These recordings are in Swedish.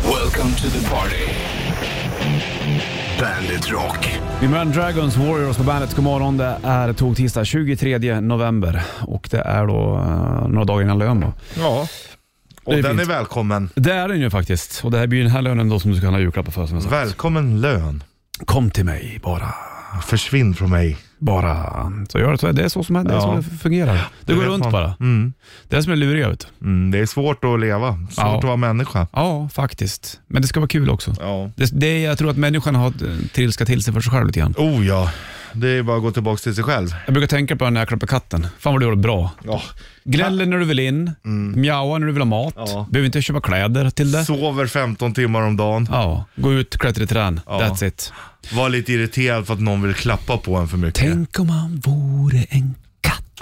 Welcome to the party. Bandit Rock. Imran Dragons Warriors på bandet. God morgon. Det är tog-tisdag 23 november och det är då eh, några dagar innan lön då. Ja. Och Det är den fint. är välkommen. Det är den ju faktiskt. Och det här blir ju den här lönen då som du ska handla julklappar för som jag sagt. Välkommen lön. Kom till mig bara. Försvinn från mig. Bara. Så gör det så. Det är så som det, är så Ja. det fungerar. Det går vet runt man. bara. Mm. Det är det som är luriga vet du. Mm. Det är svårt att leva. Svårt Ja. att vara människa. Ja, faktiskt. Men det ska vara kul också. Ja. Det, det är, jag tror att människan har eh, trilskat till sig för sig själv lite grann. Oh ja. Det är bara att gå tillbaka till sig själv. Jag brukar tänka på när jag klappar katten. Fan vad du gör det bra. Ja. Gnäller när du vill in, mjauar när du vill ha mat, Mm. Ja. behöver inte köpa kläder till det. Sover 15 timmar om dagen. Ja, gå ut, klättra i trän. Ja. That's it. Var lite irriterad för att någon vill klappa på en för mycket. Tänk om han vore en katt.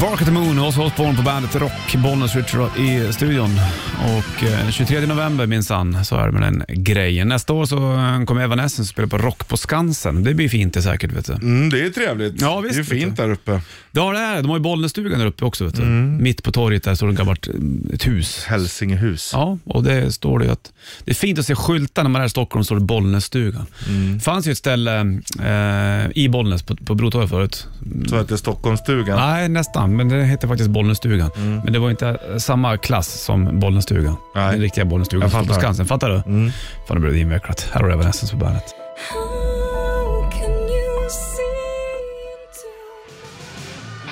Bark at the Moon och Ozzy Osbourne på bandet Rock, Bollnäs Richard i studion. Och eh, 23 november minsann så är det med den grejen. Nästa år så eh, kommer Evanescence spela på Rock på Skansen. Det blir fint det säkert vet du. Mm, det är trevligt. Ja, visst, det är vet fint du. där uppe. Ja det är det. De har ju Bollnässtugan där uppe också vet du. Mm. Mitt på torget där står det ett gammalt eh, ett hus. Hälsingehus. Ja, och det står det ju att det är fint att se skyltar när man är i Stockholm, står det Bollnässtugan. Mm. Det fanns ju ett ställe eh, i Bollnäs på, på Brotorget förut. Så att det är Stockholmsstugan. Nej, nästan, men det hette faktiskt Bollnässtugan. Men det var inte eh, samma klass som Bollnässtugan. Mm. Nej. Den riktiga Bollnässtugan Jag som står på fattar. Skansen. Fattar du? Mm. Fan, nu blev det invecklat. Här har du Evanescence på bandet. How can you seem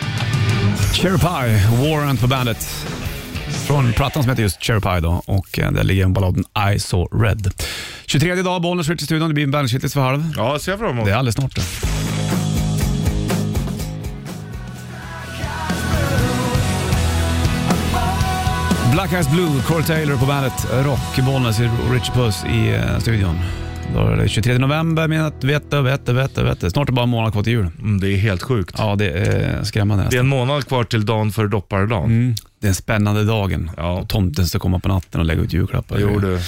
to Cherry Pie, Warrant på bandet. Från plattan som heter just Cherry Pie då och eh, där ligger balladen I saw red. 23 dag, Bollnäs Ritchie studion. Det blir en bandet för halv. Ja, ser jag fram emot. Det är alldeles snart det. Black Eyes Blue, Corey Taylor på bandet Rock, Bollnäs och Richard Puss i eh, studion. Då är det 23 november, men att vete, vete, vete, vete. Snart är det bara en månad kvar till jul. Mm, det är helt sjukt. Ja, det är skrämmande Det är nästan. en månad kvar till dagen för dopparedagen. Mm. Det är en spännande dagen. Ja. Och tomten ska komma på natten och lägga ut julklappar. Jo du.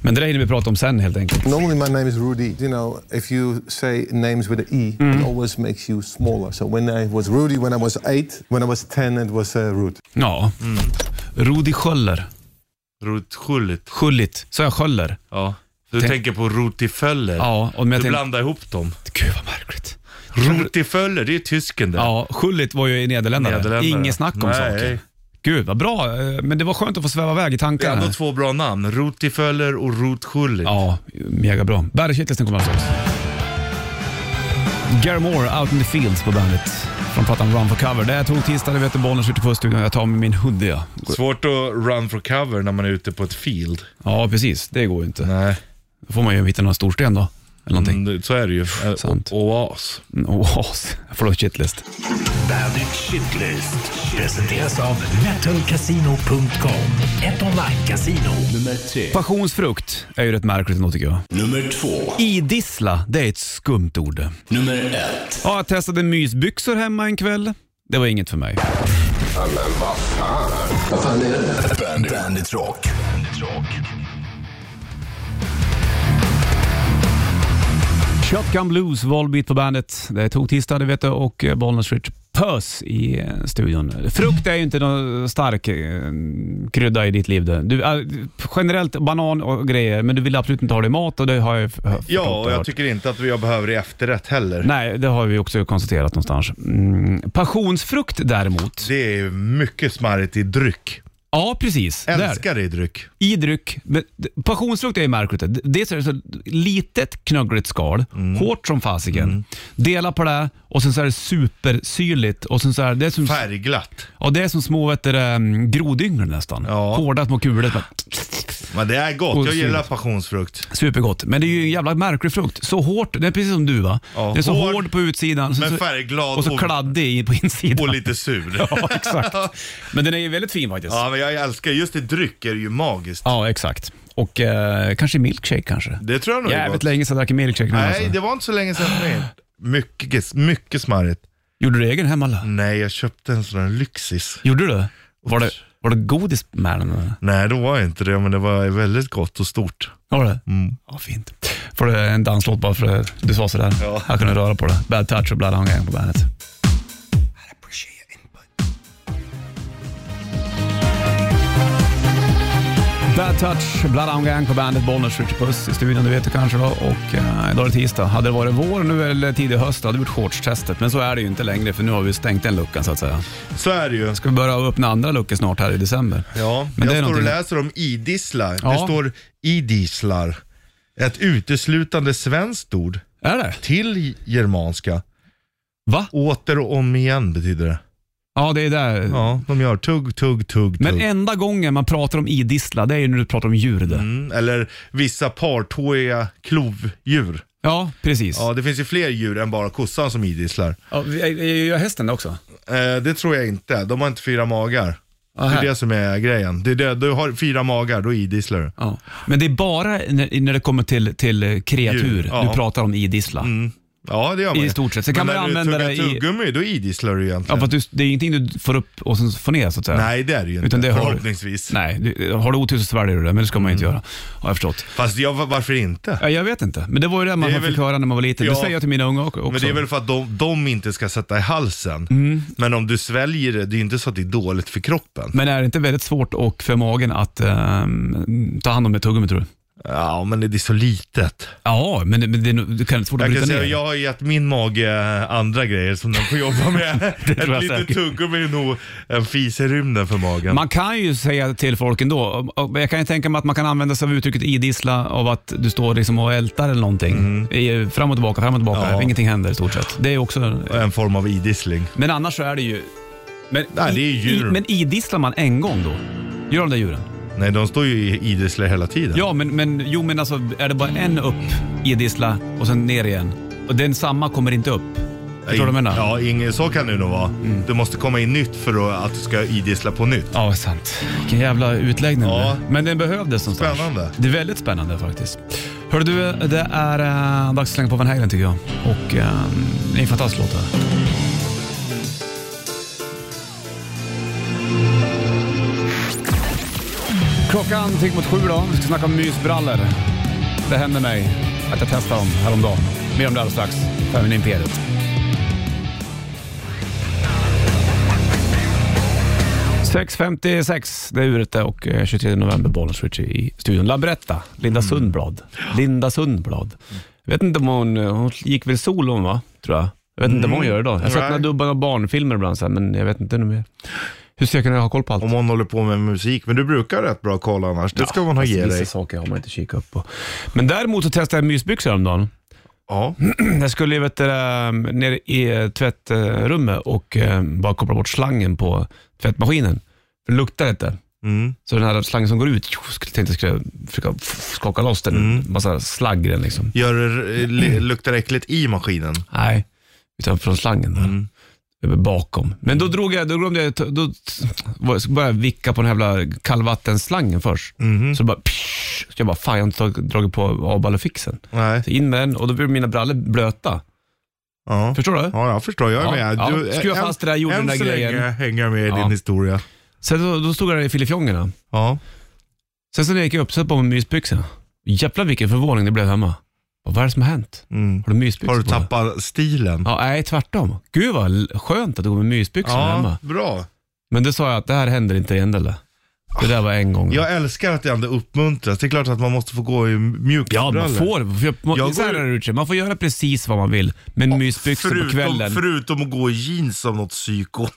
Men det där hinner vi prata om sen helt enkelt. Normally, my name is Rudy. You know, if you say names with an E, it always makes you smaller. So when I was Rudy, when I was eight, when I was 10, it was uh, Rude. Ja. Mm. Rudi Sköller. Roligt skjuligt. Schullit. Sa jag Sköller? Ja. Du Tänk- tänker på rotiföller. Ja. Och men Du jag tänkte- blandar ihop dem. Gud vad märkligt. Rotiföller, det är tysken det. Ja, Schullit var ju i Nederländerna. Nederländerna. Inget snack om Nej. saker. Gud vad bra, eh, men det var skönt att få sväva iväg i Det är tankarna. ändå två bra namn. Rotiföller och Rotskjulit. Ja, mega bra. Bergkittelsen kommer alldeles strax. Gary Moore, Out in the Fields på bandet. Från plattan Run for Cover. Det är tog tisdag, det vet du, Bollnäs ute på studion. Jag tar med min hoodie. ja. Svårt att run for cover när man är ute på ett field. Ja, precis. Det går ju inte. Nej, Då får man ju hitta någon storsten då. Eller någonting. mm, det- så är det ju. Eh, Sant. Oas. Mm. Oas. Förlåt, shitlist. Bandit Shitlist. Presenteras av metalcasino.com. Ett online-casino. Nummer tre. Passionsfrukt är ju rätt märkligt ändå tycker jag. Nummer två. Idissla, det är ett skumt ord. Nummer ett. Ja, jag testade mysbyxor hemma en kväll. Det var inget för mig. Bandit, Bandit Rock. Bandit Rock. Shotgun Blues, Volbeat på bandet. Det är tog-tisdag, det vet du, och eh, Bollnäs Rich Puss i eh, studion. Frukt är ju inte någon stark eh, krydda i ditt liv. det. Du, eh, generellt banan och grejer, men du vill absolut inte ha det i mat och det har jag f- förstått Ja, och jag hört. tycker inte att jag behöver i efterrätt heller. Nej, det har vi också konstaterat någonstans. Mm. Passionsfrukt däremot. Det är mycket smarrigt i dryck. Ja, precis. Där. Älskar det i dryck. i dryck. Men d- passionsfrukt är ju märkligt. D- Dels är det så litet knuggligt skal, Mm. hårt som fasiken. Dela på det och sen så är det supersyrligt. Och sen så är det, det, är som, Färgglatt. ja, det är som små vet du, det, mm, grodyngel nästan. Ja. Hårda små kulor. som- Men det är gott. Och Jag gillar syrligt. passionsfrukt. Supergott. Men det är ju en jävla märklig frukt. Så hårt, det är precis som du va? Ja, det är så hård, hård, på utsidan sen men så- färgglad och så och- kladdig i- på insidan. Och lite sur. Ja, exakt. Men den är ju väldigt fin faktiskt. Ja, Ja, men jag älskar just i dryck är det ju magiskt. exakt. Och eh, kanske milkshake kanske. Det tror jag nog är Jävligt gott. länge sedan jag drack en milkshake. nu, Nej, alltså. det var inte så länge sedan för mig. Mycket, mycket smarrigt. Gjorde du egen hemma eller? Nej, jag köpte en sån här Lyxis. Gjorde du det? Var det, var det godis med den? eller? Nej, då var jag inte det, men det var väldigt gott och stort. Var det? Mm. Ja, fint. Får du en danslåt bara för att du sa sådär? Ja. Jag kunde röra på det. Bad touch och Bloodhound Gang på bandet. Bad Touch, Blood On Gang på bandet Bollnäs, Richard Puss i studion, du vet det kanske då. Och eh, idag är det tisdag. Hade det varit vår nu eller tidig höst hade vi gjort shortstestet, men så är det ju inte längre för nu har vi stängt den luckan så att säga. Så är det ju. Ska vi börja öppna andra luckor snart här i december? Ja, Men jag det är står och någonting- läser om idisslar. Ja. Det står idisslar. Ett uteslutande svenskt ord Är det? till germanska. Va? Åter och om igen betyder det. Ja, det är där. Ja, de gör tugg, tugg, tugg, Men tugg. enda gången man pratar om idissla, det är ju när du pratar om djur det. Mm, eller vissa partåiga klovdjur. Ja, precis. Ja, det finns ju fler djur än bara kossan som idisslar. Ja, vi- är- är- Gör hästen det också? Eh, det tror jag inte. De har inte fyra magar. Det Aha. är det som är grejen. Det är det. Du har fyra magar, då idisslar du. Ja. Men det är bara när, när det kommer till, till eh, kreatur Djur, ja. Mm, du pratar om idissla. Ja, det gör man I ju. stort sett. Sen kan Men man när du använda tuggar det i- tuggummi, då idisslar du egentligen. Ja, för att du, det är ingenting du får upp och sen får ner så att säga. Nej, det är det ju inte. Utan det har du. Förhoppningsvis. Nej, du, har du otur så sväljer du det, men det ska man ju Mm. inte göra. Har jag förstått. Fast jag, varför inte? Ja, jag vet inte, men det var ju det man Det är fick väl- höra när man var liten. Ja. Det säger jag till mina unga också. Men det är väl för att de, de inte ska sätta i halsen. Mm. Men om du sväljer det, det är ju inte så att det är dåligt för kroppen. Men är det inte väldigt svårt och för magen att ehm, ta hand om ett tuggummi tror du? Ja, men det är så litet. Ja, men det, men det, är nog- det kan inte svårt att Jag kan bryta ner. säga jag har gett min mage eh, andra grejer som den får jobba med. tror jag Ett litet säkert. tuggummi är nog en fis i rymden för magen. Man kan ju säga till folk ändå, och- och jag kan ju tänka mig att man kan använda sig av uttrycket idissla av att du står liksom och ältar eller någonting. I- Fram och tillbaka, fram och tillbaka. Mm. Ja. Ingenting händer i stort sett. Det är också... En form av idissling. Men annars så är det ju... Men, Nej, det är ju djur. men idisslar man en gång då? Gör de där djuren? Nej, de står ju i idisslar hela tiden. Ja, men, men jo men alltså är det bara en upp idissla och sen ner igen? Och den samma kommer inte upp? Förstår du vad jag menar? Mm. Ja, ingen, så kan det nog vara. Det måste komma in nytt för att du ska idissla på nytt. Ja, sant. Vilken jävla utläggning. Ja. det. Men den behövdes någonstans. Spännande. Det är väldigt spännande faktiskt. Hör du, det är eh, dags att slänga på Van Halen tycker jag. Och eh, det är en fantastisk låt det här. Klockan tick mot sju då. Vi ska snacka om mysbrallor. Det hände mig att jag testade dem häromdagen. Mer om det alldeles strax. Även Imperiet. .56, det är uret det och eh, 23 november Bollnäs Richie i studion. Labretta, Linda Mm. Sundblad. Linda Sundblad. Jag vet inte om hon, eh, hon gick väl solo hon va? Tror jag. Jag vet inte vad hon gör idag. Jag har sett Mm. Nej. några dubbar av barnfilmer ibland så här, men jag vet inte något mer. Hur ska jag kunna ha koll på allt? Om hon håller på med musik, men du brukar rätt bra koll annars. Det ska man ha Fast ge alltså, vissa dig. saker har man inte kikat upp på. Men däremot så testade jag mysbyxor häromdagen. Ja. Jag skulle ju vet, du, eh, ner i eh, tvättrummet och eh, bara koppla bort slangen på tvättmaskinen. För det luktar lite. Mm. Så den här slangen som går ut, tjo, skulle tänkte jag skulle försöka f- skaka loss den. Massa slagg i den liksom. Gör, det- eh, Mm. li- luktar det äckligt i maskinen? Mm. Nej, utan från slangen där. Över Bakom. Men då drog jag, då glömde jag, då t- var- började jag vicka på den här jävla kallvattenslangen först. Mhm. Mm. Så bara, psh, så jag bara, fan jag har inte tagit- dragit på avballefixen. Nej. Så in med den och då blir mina brallor blöta. Ja. Förstår du? Ja, jag förstår. Jag är Ja, ja. med. Du, Skruva än- fast det där, gjorde än den där så grejen. länge hänger jag med i Ja. din historia. Sen då, då stod jag där i filifjongerna. Ja. Sen så när jag gick upp så på mig mysbyxorna. Jävlar vilken förvåning det blev hemma. Och vad är det som har hänt? Mm. Har du mysbyxor Har du på dig? tappat stilen? Ja, nej tvärtom. Gud vad l- skönt att du går med mysbyxor hemma. bra. Men det sa jag att det här händer inte igen eller? Det där var en gång. Jag älskar att jag ändå uppmuntras. Det är klart att man måste få gå i ja, mjukisbrallor. man får. För man, Jag så här går- är det, Richard. man får göra precis vad man vill. Men mysbyxor på kvällen, Förutom att gå i jeans som något psyko.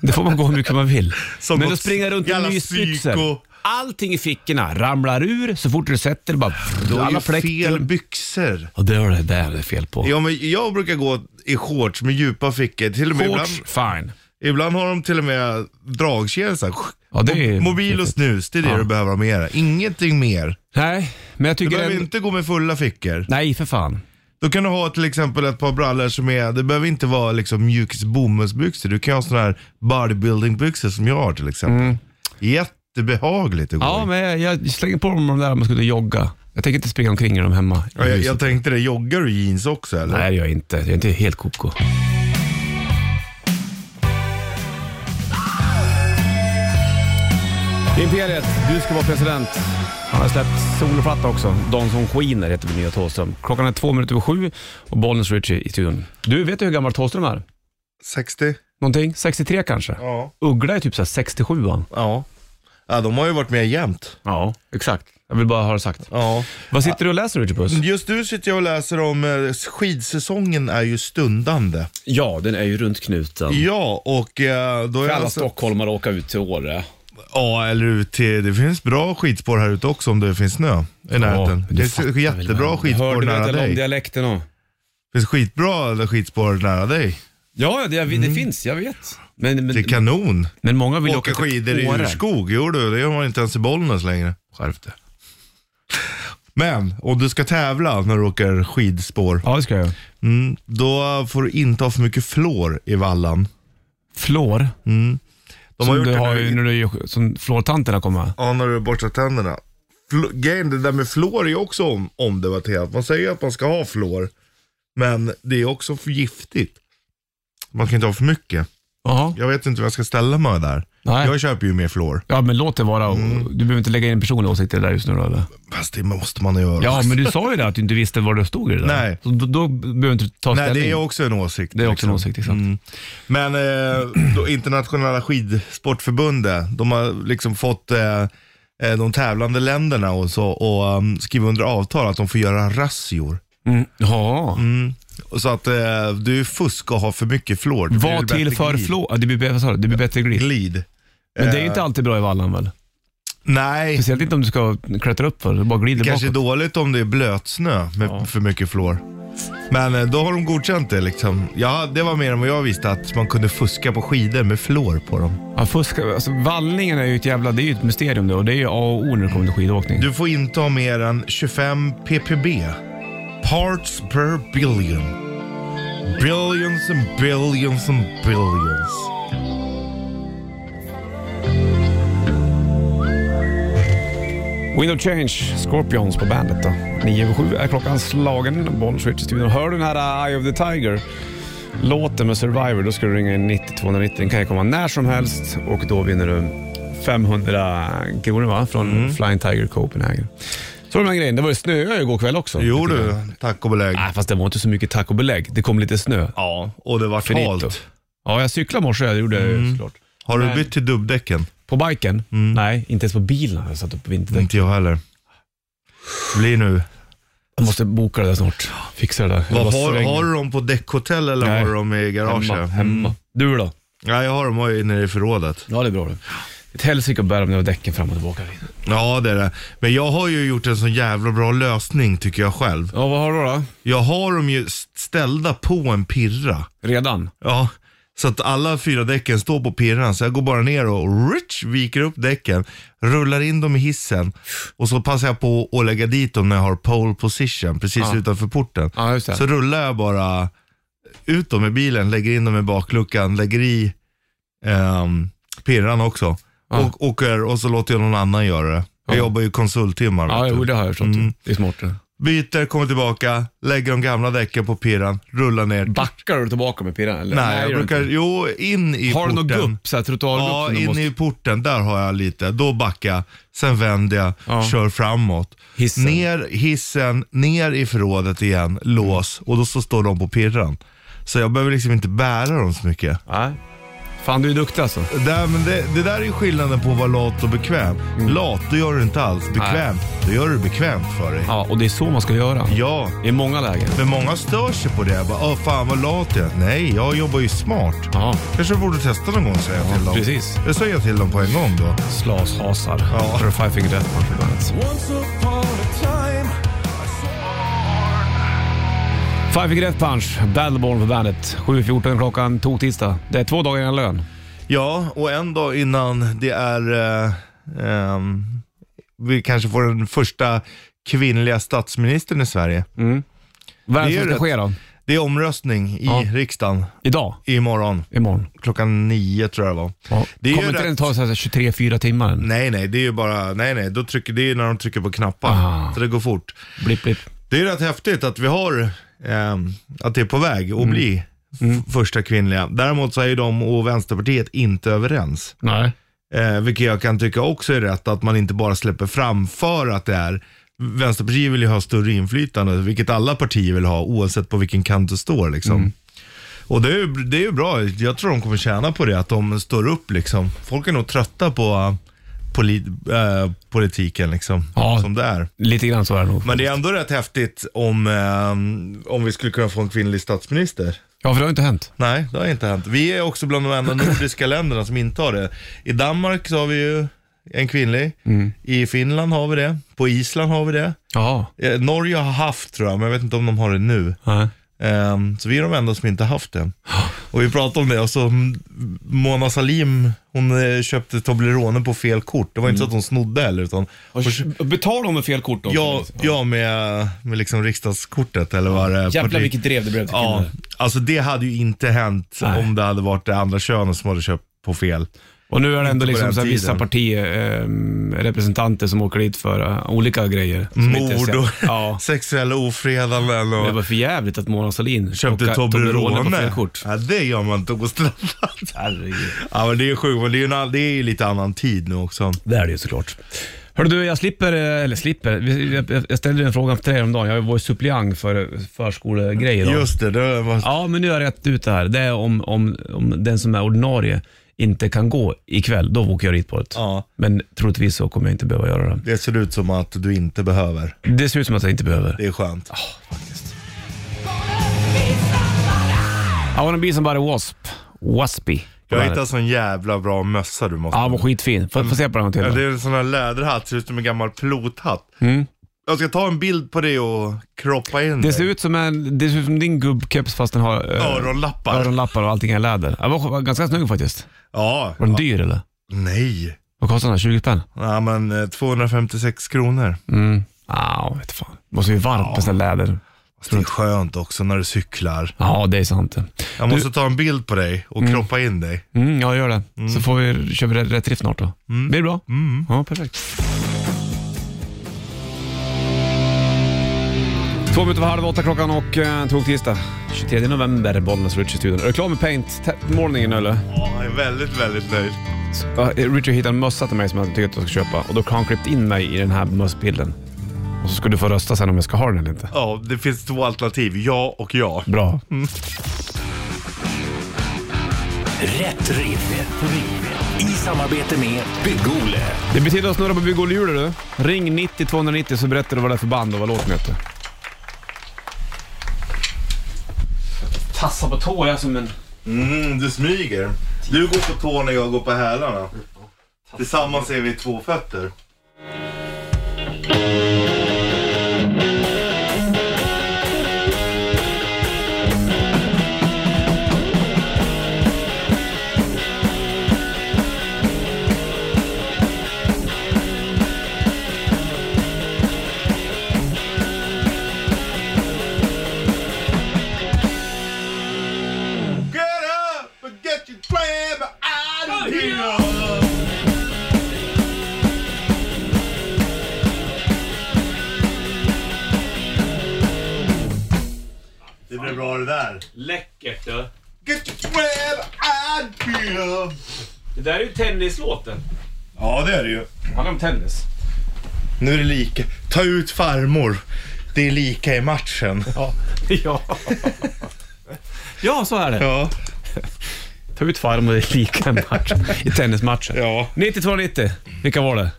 det får man gå hur mycket man vill. Som men något att springa runt i jävla mysbyxor. psyko. Allting i fickorna ramlar ur så fort du sätter det bara. Du har alla ju fel fläkten. byxor. Och det var det där det är fel på. Ja, men jag brukar gå i shorts med djupa fickor. Till och med ibland, Shorts, fine. ibland har de till och med dragkedjor. så här. Ja, det är- Mobil och snus, det är det Ja. du behöver ha med dig. Ingenting mer. Nej, men jag Du tycker... behöver en- inte gå med fulla fickor. Nej, för fan. Då kan du ha till exempel ett par brallor som är, det behöver inte vara liksom mjukis bomullsbyxor. Du kan ha sådana här bodybuildingbyxor som jag har till exempel. Jättebehagligt att gå Ja, i. men jag, jag slänger på mig de där om jag skulle jogga. Jag tänker inte springa omkring i dem hemma. i Ja, jag, huset. jag tänkte det, joggar du i jeans också eller? Nej, det gör jag inte. Jag är inte helt koko. Imperiet, du ska vara president. Han har släppt soloplatta också. De som skiner heter väl nya Thåström. Klockan är två minuter över sju och Bollnäs Richie i studion. Du, vet du hur gammal Thåström är? 60? Någonting? 63 kanske? Ja. Uggla är typ så här 67 va? Ja. Ja, de har ju varit med jämt. Ja, exakt. Jag vill bara ha det sagt. Ja. Vad sitter du och läser Richard Puss? Just nu sitter jag och läser om eh, skidsäsongen är ju stundande. Ja, den är ju runt knuten. Ja, och eh, då är Alla alltså- stockholmare åka ut till Åre. Ja, eller ut till, det finns bra skidspår här ute också om det finns snö i närheten. du det fattar finns jättebra skidspår Hörde du nära inte dig. långdialekten då? Det finns skitbra skidspår nära dig. Ja, det, jag, det finns, jag vet. Men, Mm. Det är men, kanon. Men många vill Åka åka till skidor i Åre. urskog, jo du, det gör man inte ens i Bollnäs längre. Skärp dig. Men om du ska tävla när du åker skidspår, Ja, det ska jag göra. mm, då får du inte ha för mycket flår i vallan. Flår, Mm. De som gjort du det har nu ju, när du, gör- som flårtanterna kommer med. Ja, när du borstar tänderna. Fl- Grejen, det där med fluor är ju också om- omdebatterat. Man säger ju att man ska ha fluor, men det är också för giftigt. Man kan inte ha för mycket. Jaha. Jag vet inte vad jag ska ställa mig där. Nej. Jag Mm. köper ju mer fluor. Ja, men låt det vara. Du behöver inte lägga in en personlig åsikt i det där just nu då, eller? Fast det måste man ju göra. Ja, men du sa ju det att du inte visste var du stod i det där. Nej. Så då, då behöver du inte ta Nej, ställning. det är också en åsikt. liksom. Mm. Det är också en åsikt, liksom. exakt. Men eh, då, internationella skidsportförbundet, de har liksom fått eh, eh, de tävlande länderna och så och um, skriva under avtal att de får göra razzior. Mm. Ja. Så att eh, du fusk och ha för mycket flår. Det blir Vad bättre till för glid. flå... Ja, det blir, bä- vad sa du? det blir bättre glid. Glid. Eh, Men det är ju inte alltid bra i vallan väl? Nej, Speciellt inte om du ska klättra upp för det bara glider bakåt. det kanske är dåligt om det är blötsnö med för mycket flår. Men eh, då har de godkänt det liksom. Ja, det var mer än vad jag visste att man kunde fuska på skidor med flår på dem. Ja, fusk, alltså, vallningen är ju ett jävla, det är ju ett mysterium det och det är ju A och O när det kommer till skidåkning. Du får inte ha mer än 25 ppb. Parts per billion. Billions and billions and billions. Wind of Change, Scorpions på bandet då. 9 över 7 är klockan slagen. Bollswitch i studion. Hör du den här uh, Eye of the Tiger? Låten med Survivor, då ska du ringa in 9290. Den kan ju komma när som helst och då vinner du 500 kronor va? från Mm. Flying Tiger Copenhagen. Så de här grejen. Det var ju snö igår kväll också. Jo du, tack och belägg. Nej, fast det var inte så mycket tack och belägg. Det kom lite snö. Ja, och det var Finito. halt. Ja, jag cyklade i morse, det gjorde jag Mm. ju såklart. Har du Nej. bytt till dubbdäcken? På biken? Mm. Nej, inte ens på bilen har jag satt upp på vinterdäck. Inte jag heller. Blir nu. Jag måste boka det där snart. Fixa det där. Jag Vad, bara har, slänger. har du dem på däckhotell eller Nej. har du dem i garaget? Hemma. hemma. Mm. Du då? Ja, jag har dem ju nere i förrådet. Ja, det är bra det. Ett helsike att bära med däcken fram och tillbaka. Ja, det är det. Men jag har ju gjort en sån jävla bra lösning tycker jag själv. Ja, vad har du då? Jag har dem ju ställda på en pirra. Redan? Ja, så att alla fyra däcken står på pirran. Så jag går bara ner och rich, viker upp däcken, rullar in dem i hissen och så passar jag på att lägga dit dem när jag har pole position precis utanför porten. Ja, just det. Så rullar jag bara ut dem i bilen, lägger in dem i bakluckan, lägger i ehm, pirran också. Och åker och så låter jag någon annan göra det. Jag jobbar ju konsulttimmar. Ja, Mm. vet du. jo, det har jag förstått. Det är smart det. Byter, kommer tillbaka, lägger de gamla däcken på pirran, rullar ner. Backar du tillbaka med pirran? Eller? Nej, jag gör du brukar, inte. jo, in i Har du porten. någon gupp? Så här, Ja, trottoargupp? in Ja, måste... i porten, där har jag lite. Då backar jag, sen vänder jag, Ja. kör framåt. Hissen. Ner hissen, ner i förrådet igen, lås och då så står de på pirran. Så jag behöver liksom inte bära dem så mycket. Nej. Fan, du är duktig alltså. Där, men det, det där är ju skillnaden på att vara lat och bekväm. Mm. Lat, då gör du inte alls. Bekvämt, då gör du det bekvämt för dig. Ja, och det är så man ska göra. Ja, I många lägen. men många stör sig på det. Bara, Åh, fan vad lat jag är." Nej, jag jobbar ju smart. Ja, Kanske borde testa någon gång säger jag till dem. precis. Det säger jag till dem på en gång då. slashasar. Ja. För Five Finger Death Punch på bandet. Five Finger Death Punch, Battleborn på bandet. 7.14 klockan, tog tisdag. Det är två dagar innan lön. Ja, och en dag innan det är, eh, ehm, vi kanske får den första kvinnliga statsministern i Sverige. Mm. Vad är Det det är som ska rätt. ske då? Det är omröstning i Ja. riksdagen Idag? imorgon. Imorgon? Klockan nio tror jag det var. Ja. Det är Kommer ju inte rätt- den ta så här 23-4 timmar? än? Nej, nej, det är ju bara, nej, nej, då trycker, det är ju när de trycker på knappar. Ah. Så det går fort. Blipp, blipp. Det är rätt häftigt att vi har, ehm, att det är på väg att Mm. bli f- första kvinnliga. Däremot så är ju de och Vänsterpartiet inte överens. Nej. Eh, vilket jag kan tycka också är rätt, att man inte bara släpper fram för att det är. Vänsterpartiet vill ju ha större inflytande, vilket alla partier vill ha oavsett på vilken kant du står. Liksom. Och det är, ju, det är ju bra, jag tror de kommer tjäna på det, att de står upp. Liksom. Folk är nog trötta på poli- eh, politiken liksom, Ja. som det är. Lite grann så är det nog. Men det är ändå rätt häftigt om, eh, om vi skulle kunna få en kvinnlig statsminister. Ja, för det har inte hänt. Nej, det har inte hänt. Vi är också bland de enda nordiska länderna som inte har det. I Danmark så har vi ju en kvinnlig. I Finland har vi det. På Island har vi det. Ja. Eh, Norge har haft tror jag, men jag vet inte om de har det nu. Nej. Ehm, Så vi är de enda som inte haft det. Och vi pratade om det och så mm, Mona Salim, hon eh, köpte Toblerone på fel kort. Det var inte så att hon snodde heller utan Betalar hon med fel kort då? jag, jag med, med liksom riksdagskortet eller vad det Jävlar parti- vilket drev det blev till Ja, kvinnor. alltså det hade ju inte hänt Nej. om det hade varit det andra könet som hade köpt på fel. Och nu är det ändå på liksom den så här vissa tiden. partirepresentanter som åker dit för eh, olika grejer. som inte är Mord så- och Ja. sexuella ofredanden Det och var för jävligt att Mona Sahlin köpte plockade på Toblerone. fel kort. Ja, det gör man inte hos Herregud. Ja, men det är sjukt, men det är ju en, an- det är ju lite annan tid nu också. Det är det ju såklart. Hörru du, jag slipper, eh, eller slipper, Vi- jag- jag ställde ju en fråga till dig om dagen. Jag var ju suppleant för förskolegrejer. idag. Just det, det var... Ja, men nu har jag rätt ut det här. Det är om, om, om den som är ordinarie inte kan gå ikväll, då åker jag dit på det. Ja. Men troligtvis så kommer jag inte behöva göra det. Det ser ut som att du inte behöver. Det ser ut som att jag inte behöver. Det är skönt. I wanna be somebody wasp. Waspy. Jag hittade en sån jävla bra mössa du måste Ja, den var skitfin. Får får se på den en till Ja, då? Det är en sån här läderhatt, ser ut som en gammal plothatt. Jag ska ta en bild på det och kroppa in Mm. Det ser det. ut som, en, det ser ut som din gubbkeps fast den har eh, Öronlappar. öronlappar och allting är läder. Den var, var ganska snygg faktiskt. Ja. Var den dyr eller? Nej. Vad kostar den? 20 spänn? Ja, men eh, 256 kronor. Mm. Ah, vet fan. Det måste ju vara varmt med sån här läder. Det är skönt också när du cyklar. Ja, det är sant. Jag måste ta en bild på dig och kroppa in dig. Mm, Mm. ja, gör det. Så får vi, kör vi rätt, rätt riff snart då. Blir det bra? Ja, perfekt. Två minuter över halv åtta klockan och eh, tog tisdag. 23 november, Bollnäs Rich i studion. Är du klar med paint te- målningen eller? Ja, jag är väldigt, väldigt nöjd. Ja, Richard hittade en mössa till mig som jag tycker att jag ska köpa och då har han klippt in mig i den här mössbilden. Och så ska du få rösta sen om jag ska ha den eller inte. Ja, det finns två alternativ. Ja och ja. Bra. Rätt riff. Rätt riff. I samarbete med Bygg-Ole. Det betyder att snurra på bygg och hjulet du. Ring 90 290 så berättar du vad det är för band och vad låten heter. Tassar på tå jag som en... Mm, du smyger. Du går på tå när jag går på hälarna. Tillsammans är vi två fötter. Get up and get your grab out of here. Det blev bra det där. Läckert du. Get your grab out of here. Det där är ju tennislåten. Ja, det är det ju. Handlar om tennis. Nu är det lika. Ta ut farmor. Det är lika i matchen. Ja. ja. ja, så är det. Ja. Ta ut farmor i lika match. I tennismatchen. Ja. 90 290. Vilka var det?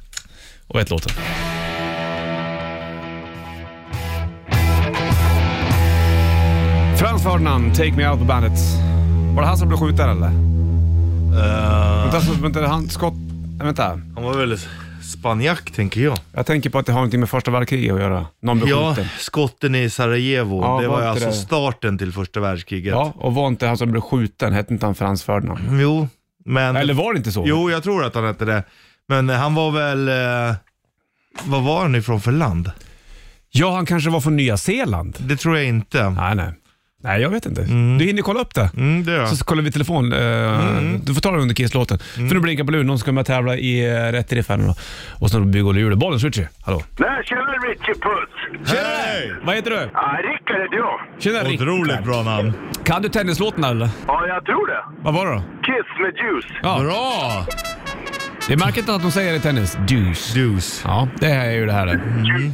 Och ett låten. Frans Ferdinand, Take Me Out på bandet. Var det han som blev skjuten eller? Eh. Vänta, så- vänta, det är han skott... Nej, vänta. han var väl spanjack tänker jag. Jag tänker på att det har någonting med första världskriget att göra. Någon blev Ja, skjuten. skotten i Sarajevo. Ja, det var inte var alltså det? starten till första världskriget. Ja, och var inte han som blev skjuten, hette inte han Frans Ferdinand? Jo, men... Eller var det inte så? Jo, jag tror att han hette det. Men eh, han var väl... Eh, vad var han ifrån för land? Ja, han kanske var från Nya Zeeland. Det tror jag inte. Nej, nej. Nej, jag vet inte. Du hinner kolla upp det. Mm, det gör jag. Så kollar vi i telefon. eh, Du får ta det under kisslåten. För nu blinkar på luren. Någon ska med och tävla i eh, Rätt Riff här nu då. Och så bygger Olle hjulet. Bollen, Switchy. Hallå. Nej, tjena Richie Puss! Hej! Vad heter du? Ja, Rickard heter jag. Tjena Rick. Otroligt bra namn. Kan du tennislåten eller? Ja, jag tror det. Vad var det då? Kiss med juice. Ja. Bra! Det är märkligt att de säger det i tennis. Deuce. Dus. Ja, det är ju det här. Juice.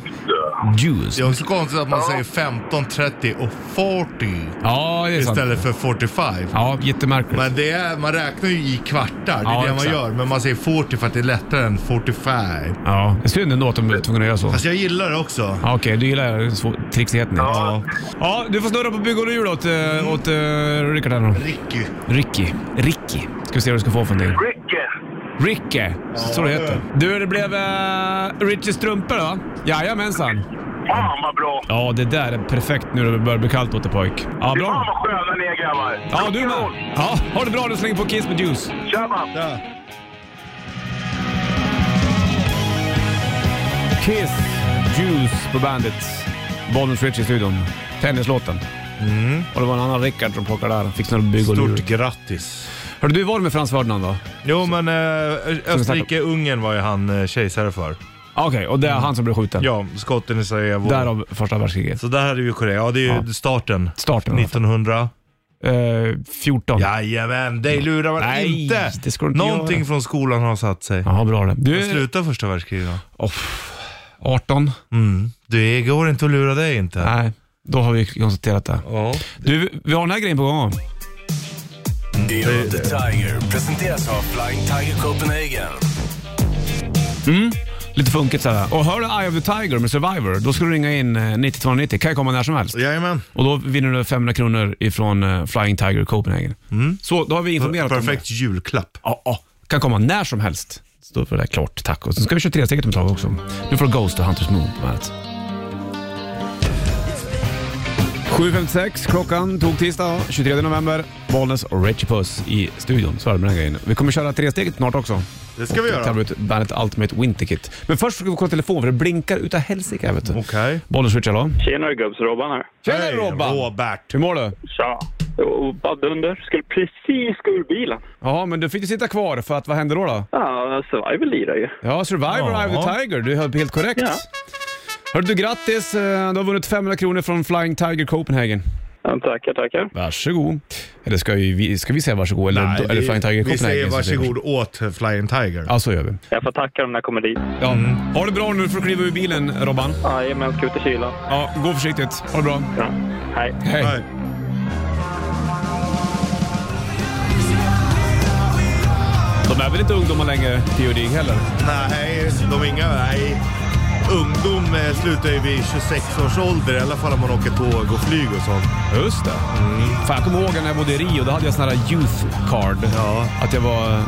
Juice. Det är också konstigt att man säger 15, 30 och 40 Ja, det är sant. istället för 45. Ja, jättemärkligt. Men det är, man räknar ju i kvartar, det är Ja, det man exakt. gör. Men man säger 40 för att det är lättare än 45. Ja, det är synd ändå att de är tvungna att göra så. Fast jag gillar det också. Ja, Okej, du gillar svår- trixigheten. Ja. ja, du får snurra på bygg och hjul åt, eh, åt uh, Rickard här då. Ricky. Ricky. Ricky. Ska vi se vad du ska få för någonting. Ricke. Ricky, så det heter. Du, det blev uh, Richies strumpor då? Jajamensan. Fan vad bra. Ja, det där är perfekt nu när det börjar bli kallt åt det pojk. Ja, Fy fan bra. vad sköna ni är grabbar. Ja, du med. Ja, ha det bra. Du slänger på Kiss med Juice. Tjabba. Kiss, Juice på bandet. Bollnäs Rich i studion. Tennislåten. Och det var en annan Rickard som plockade där. Fick snurra på bygg och hjul. Mm. Stort grattis. Hörru du, var det med Frans Ferdinand då? Jo men eh, snackar- Österrike-Ungern var ju han eh, kejsare för. Okej, och det är han som blev skjuten? Mm. Ja, skotten i Sarajevo. Därav första världskriget. Så där hade vi Korea. Ja, det är ju Ja. starten. Starten. alltså. 1900. Eh, 14. Jajamän, dig lurar man Nej, inte. det ska du inte Någonting göra. från skolan har satt sig. Ja, bra det. Du är Sluta första världskriget då. oh, 18. Mm. Det går inte att lura dig inte. Nej, då har vi konstaterat det. Ja. Du, vi har den här grejen på gång. Eh. Deal the Tiger presenteras av Flying Tiger Copenhagen. Lite funkigt sådär. Och hör du Eye of the Tiger med Survivor, då ska du ringa in eh, 90 290. Kan ju komma när som helst. Jajamän. Och då vinner du 500 kronor ifrån eh, Flying Tiger Copenhagen. Så, då har vi informerat om det. Perfekt julklapp. Ja, ja. Kan komma när som helst. Står för det där klart, tack. Och så ska vi köra tresteget om ett tag också. Nu får Ghost och Hunters Moon på bandet. 7.56 klockan, tog tisdag 23 november. Bollnäs och Richie Puss i studion. Så är det med den här grejen. Vi kommer köra tresteget snart också. Det ska vi göra. Tävla ut bandet Ultimate Winter Kit. Men först ska vi kolla telefon för det blinkar utav helsike. här, vet du. Okej. Bollnäs Richie, hallå? Tjena gubbs-Robban här. Tjena Hej, Robban! Robert. Hur mår du? Tja. Och bara dunder. Skulle precis gå ur bilen. Ja, men du fick ju sitta kvar för att vad hände då? då? Ja, alltså, survival lirar ju. Ja, Survivor Ja. Eye of the Tiger. Du höll helt korrekt. Ja. Hörru du, grattis! Eh, Du har vunnit 500 kronor från Flying Tiger Copenhagen. Ja, tackar, tackar. Varsågod. Eller ska vi, ska vi säga varsågod? Eller, Nej, eller vi- Flying Tiger vi Copenhagen? säger som varsågod åt Flying Tiger. Ja, så gör vi. Jag får tacka dem när jag kommer dit. Ja. Mm. Ha det bra nu. får du kliva ur bilen, Robban. Jajamän, ska ut i kylan. Ja, gå försiktigt. Ha det bra. Ja. Hej. Hej. Nej. De är väl inte ungdomar längre, POD heller? Nej, de är inga... Nej. Ungdom eh, slutar ju vid 26 års ålder, i alla fall om man åker tåg och flyg och sånt. Just det. Mm. Fan, jag kommer ihåg när jag bodde i Rio. Då hade jag sån här youth card. Ja. Att jag var,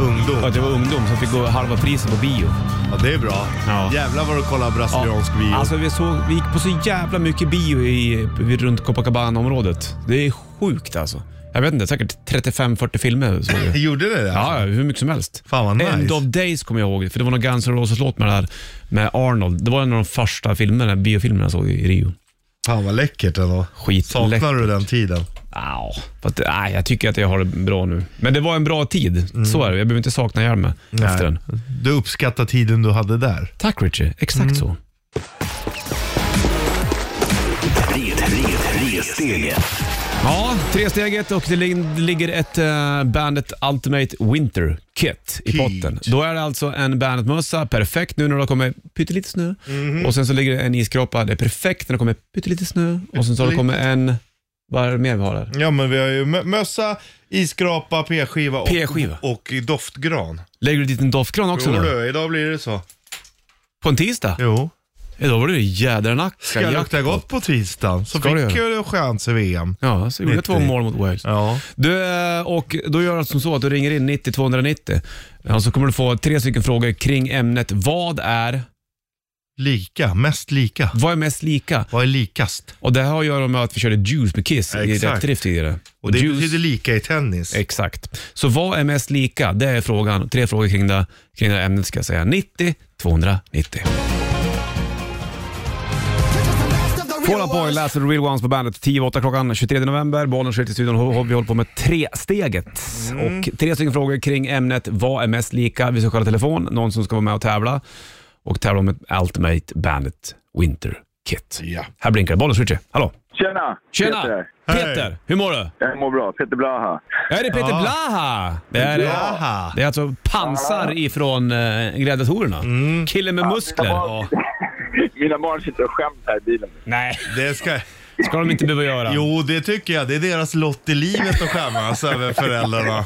Ungdom. att jag var ungdom som fick gå halva priset på bio. Ja, det är bra. Ja. Jävlar vad du kollar brasiliansk Ja, bio. Alltså vi, såg, vi gick på så jävla mycket bio i, vid- runt Copacabana-området. Det är sjukt alltså. Jag vet inte, säkert 35-40 filmer såg vi. Gjorde det? där? Ja, ja, hur mycket som helst. Fan, vad nice. End of Days kommer jag ihåg, för det var någon Guns N' Roses-låt med det här med Arnold. Det var en av de första filmerna, biofilmerna jag såg i Rio. Fan vad läckert ändå. Skitläckert. Saknar du den tiden? Au, fast, nej, jag tycker att jag har det bra nu. Men det var en bra tid, så är det. Jag behöver inte sakna Hjalmar efter den. Du uppskattar tiden du hade där. Tack Richie, exakt Mm. så. Red, red, ressteget. Ja, tresteget och det lig- ligger ett eh, Bandet Ultimate Winter Kit i Kit. potten. Då är det alltså en Bandet-mössa, perfekt nu när det har kommit pyttelite snö. Mhm. Och sen så ligger det en iskroppa, det är perfekt när det kommer pyttelite snö. Och sen så har det kommit en, vad är det mer vi har där? Ja men vi har ju mö- mössa, iskrapa, p-skiva och, P-skiva. och doftgran. Lägger du dit en doftgran också Jo nu? du, idag blir det så. På en tisdag? Jo. Idag var det jädra nacka. Ska jag lukta gott på tisdagen så Ska du fick göra? jag det chans i VM. Ja, så gjorde jag två 90. mål mot Wales. Ja. Du, eh, och då gör det som så att du ringer in 90 290 och så kommer du få tre stycken frågor kring ämnet Vad är, Lika, mest lika. vad är mest lika? Vad är likast? Och det här har att göra med att vi körde juice med Kiss i Exakt. rätt drift tidigare. Och det juice, betyder lika i tennis. Exakt. Så vad är mest lika? Det är frågan. Tre frågor kring det, kring det här ämnet ska jag säga. 90 290. Fall Out Boy, Last of the Real Ones på bandet. 10 8 klockan 23 november. Bollen skjuter till studion. Ho- ho- Vi håller på med tre steget och Tre stycken frågor kring ämnet vad är mest lika. Vi ska kolla telefon, någon som ska vara med och tävla och tävla om ett Ultimate Bandet Winter Kit. Ja. Här blinkar det. Bollen skjuter. Hallå! Tjena! Tjena! Peter. Peter, Hej. hur mår du? Jag mår bra. Peter Blaha. Är det Peter Ja. Blaha? Det är, Blaha. eh, det är alltså pansar ifrån uh, gladiatorerna. Killen med muskler. Ja. Mina barn sitter och skämtar i bilen. Nej, Det ska... ska de inte behöva göra. Jo, det tycker jag. Det är deras lott i livet att skämmas över föräldrarna.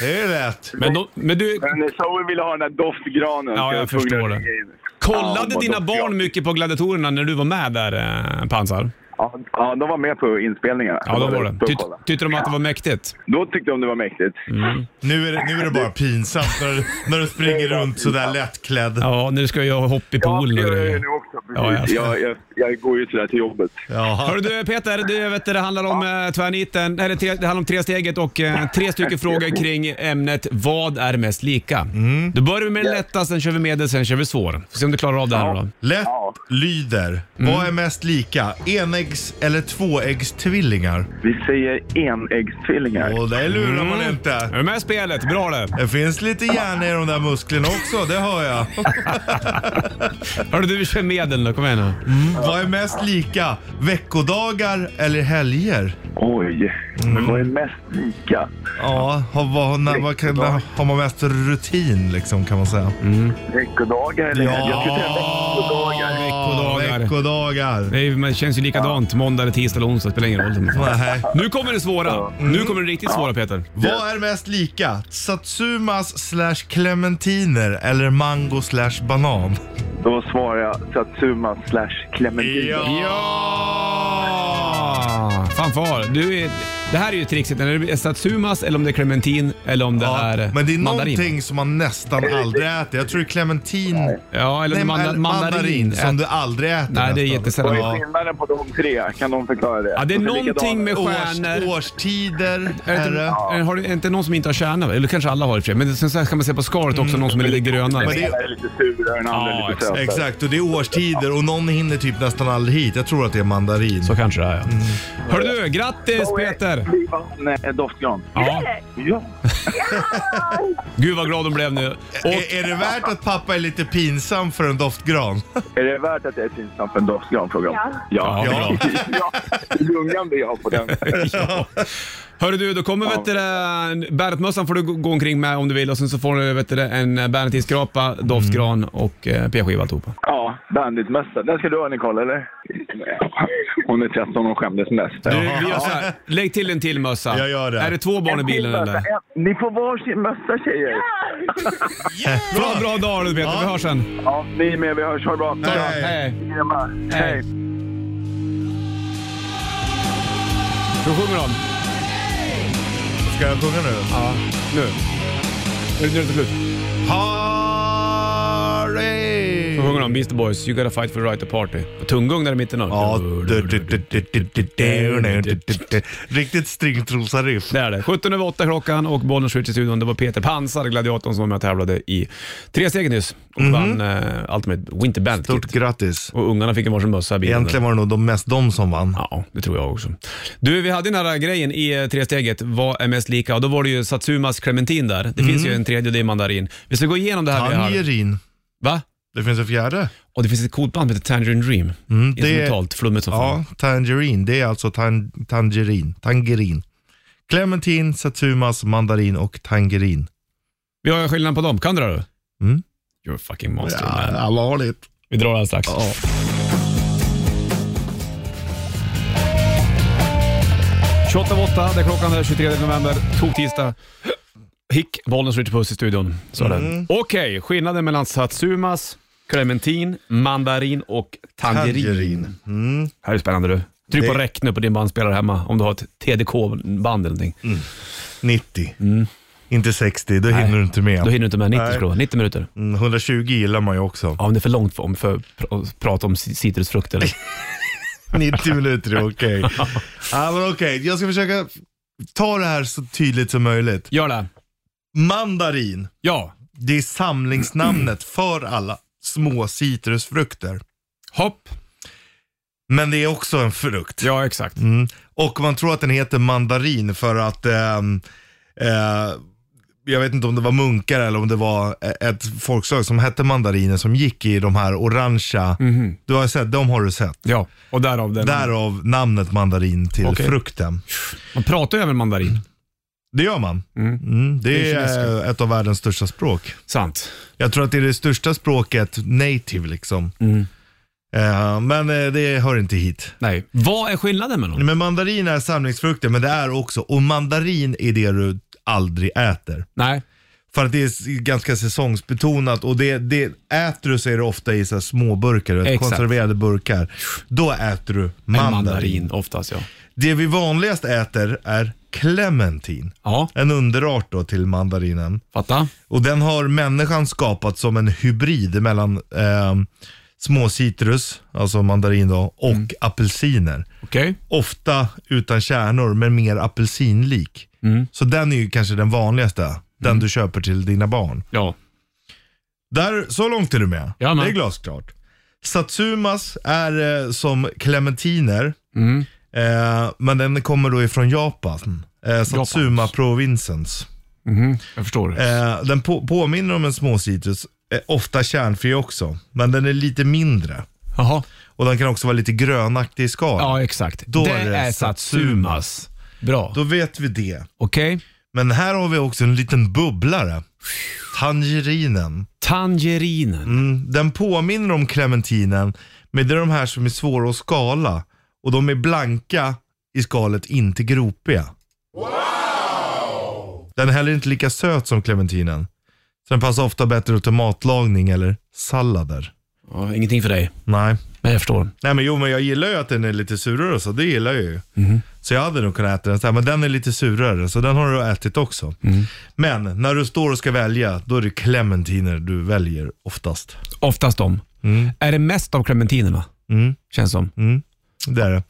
Det är rätt. Men, de, men du, Men Zoe ville ha den där doftgranen. Ja, så jag var tvungen förstår att det. ringa in. Ja, kollade de var dina doftiga. barn mycket på gladiatorerna när du var med där, eh, Pansar? Ja, ja, de var med på inspelningarna. Ja, då var det. uppe och Tyck, kollade. tyckte de att det var mäktigt? Då tyckte de det var mäktigt. Nu är det, nu är det bara pinsamt när, du- när du springer runt sådär lättklädd. Ja, när du ska göra hopp i Ja, poolen det och gör jag grejer. ju nu också. Precis. Ja, jag- jag, jag, jag går ju sådär till jobbet. Ja. Hörru du Peter, du, vet, du, det handlar om ja. tvärniten, eller tre, det handlar om tre steget och eh, tre stycken frågor kring ämnet Vad är mest lika? Då börjar vi med den lätta, sen kör vi medel, sen kör vi svår. Får se om du klarar av det här nu då. Lätt Ja. lyder. Mm. Vad är mest lika? Enäggs eller tvåäggstvillingar? Vi säger enäggstvillingar. Och det lurar man Är inte. du med i spelet? Bra det! Det finns lite järn i de där musklerna också, det hör jag. Hörru du, vi kör medel då. Kom igen nu. Vad är mest lika? Veckodagar eller helger? Oj, men vad är mest lika? Ja, har, vad, när, vad kan, när, har man mest rutin liksom kan man säga. Mm. Veckodagar eller? Ja. Jag skulle säga veckodagar. Veckodagar. Veckodagar. Det är- men det känns ju likadant. Måndag, eller tisdag eller onsdag. Det spelar ingen roll. Nej. Nu kommer det svåra. Mm. Nu kommer det riktigt svåra Peter. Vad är mest lika? Satsumas slash clementiner eller mango slash banan? Då svarar jag Satsuma slash Clementine. Ja! Fanfar, Ah, du är, det här är ju trixigt. Är det Satsumas eller om det är clementin eller om det är men det mandarin. är någonting som man nästan aldrig äter. Jag tror det är clementin. Ja, eller Nej, manda, mandarin, mandarin. Äh, som du aldrig äter Nej, det är nästan. jättesällan. Vad är skillnaden på de tre? Kan de förklara det? Alltså, Ja, det är De någonting likadana. med Års, stjärnor. årstider, Är det, herre. inte- är- har det är inte någon som inte har stjärna? Eller kanske alla har i och för sig. Men sen så här kan man se på skalet också, någon som är lite grönare. Mm. Men Den det- ena är lite surare, den andra Ja, är lite sötare. Exakt, och det är årstider och någon hinner typ nästan aldrig hit. Jag tror att det är mandarin. Så kanske det är ja. Mm. Hörru du, grattis Peter! Nej, eh, doftgran. Ja. Ja. Gud vad glad de blev nu. Och, Är, är det värt att pappa är lite pinsam för en doftgran? Är det värt att jag är pinsam för en doftgran? Frågar ja. Ja. Ja. ja. ja. Lungan blir jag på den. hörru du, då kommer vet du, det, Bernhardsmössan får du gå gå omkring med om du vill och sen så får du vet du, det, en Bernhardskrapa, doftgran Mm. och eh, p-skiva alltihopa. Ja, banditmössa. Den ska du ha Nicole, eller? Hon är 13 och skämdes mest. Du, vi gör så här. Lägg till en till mössa. Jag gör det. Är det två barn i bilen eller? Ni får varsin mössa tjejer. Bra, bra dag du Peter, vi hörs sen. Ja, ni är med. Vi hörs. Ha det bra. Nej. Hej. Hej. Då sjunger de. Ska jag sjunga nu? Ja, nu. Nu är det slut. Harry! Då sjunger de Beastie Boys, You gotta fight for the right to party. Och Tunggung där i mitten av. Ja, du- du- du- du- du- du- du- du- du- du- du. Riktigt stringtrosa-riff. Det är det. 17 över 8 klockan och Bollnäs Switch i studion. Det var Peter Pansar, gladiatorn, som var med och tävlade i tre steget nyss och vann eh, Ultimate Winter Band Stort Kit. grattis. Och ungarna fick en varsin mössa i bilen. Egentligen var det nog de mest de som vann. Ja, det tror jag också. Du, vi hade den här grejen i eh, tre steget. Vad är mest lika? Och då var det ju Satsumas clementin där. Det finns ju Mm. en tredje och det är mandarin. Vi ska gå igenom det här vi har. Tangerin. Va? Det finns en fjärde. Och det finns ett coolt band som heter Tangerine Dream. Mm, det- Instrumentalt, flummigt som fan. Ja, tangerin. Det är alltså tan- tangerin. Tangerin. Clementin, Satsumas, mandarin och tangerin. Vi har skillnad på dem. Kan du det då? Mm. You're a fucking monster man. Allvarligt. Vi drar alldeles strax. Ja. 28.08, det är klockan är 23 november, tog tisdag. Hick, Bollnäs Ritchie Puss i studion. Så är det. Mm. Okej, skillnaden mellan Satsumas, Clementin, Mandarin och Tangerin. Tangerin. Mm. Här är spännande du. Tryck på Det- räck nu på din bandspelare hemma om du har ett TDK-band eller någonting. Mm. 90. Inte 60, Mm. då hinner du inte med. Då hinner du inte med 90 Nej. skulle det vara. 90 minuter. Mm, 120 gillar man ju också. Ja, men det är för långt för, om för att pr- prata om ci- citrusfrukter. 90 minuter är okej. ja, men okej, jag ska försöka ta det här så tydligt som möjligt. Gör det. Mandarin, Ja. det är samlingsnamnet för alla små citrusfrukter. Hopp. Men det är också en frukt. Ja, exakt. Mm. Och man tror att den heter mandarin för att ehm, eh, jag vet inte om det var munkar eller om det var e- ett folkslag som hette mandariner som gick i de här orangea. Du har sett, de har du sett. Ja, och därav den. Därav namnet mandarin till Okej. frukten. Man pratar ju även mandarin. Det gör man. Mm, det, Det är är, ett av världens största språk. Sant. Jag tror att det är det största språket native liksom. Eh, men eh, det hör inte hit. Nej. Vad är skillnaden mellan dem? Men mandarin är samlingsfrukten, men det är också, och mandarin är det du aldrig äter. Nej. För att det är s- ganska säsongsbetonat och det, det äter du så är det ofta i så här små burkar, du vet, Exakt. konserverade burkar. Då äter du En mandarin. mandarin oftast ja. Det vi vanligast äter är clementin. Ja, En underart då till mandarinen. fatta. Och den har människan skapat som en hybrid mellan eh, små citrus, alltså mandarin då, och Mm. apelsiner. Okej. Ofta utan kärnor, men mer apelsinlik. Mm. Så den är ju kanske den vanligaste. Den du köper till dina barn. Ja. Där, så långt är du med. Ja, men. det är glasklart. Satsumas är eh, som clementiner, Mm. eh, men den kommer då ifrån Japan. Eh, Satsuma provinsens. Jag förstår. Eh, den på, påminner om en småcitrus, eh, ofta kärnfri också, men den är lite mindre. Jaha. Och den kan också vara lite grönaktig i skal. Ja, exakt. Då det är det är Satsumas. Bra. Då vet vi det. Okej. Men här har vi också en liten bubblare. Tangerinen. Tangerinen. Mm, den påminner om clementinen, men det är de här som är svåra att skala. Och de är blanka i skalet, inte gropiga. Den är heller inte lika söt som clementinen. Så den passar ofta bättre till matlagning eller sallader. Ja, ingenting för dig. Nej. Men jag förstår. Nej men jo, men jag gillar ju att den är lite surare och så, det gillar jag ju. Så jag hade nog kunnat äta den så här, men den är lite surare, så den har du ätit också. Men när du står och ska välja, då är det clementiner du väljer oftast. Oftast de. Är det mest av clementinerna? Mm. Känns som. Det är det.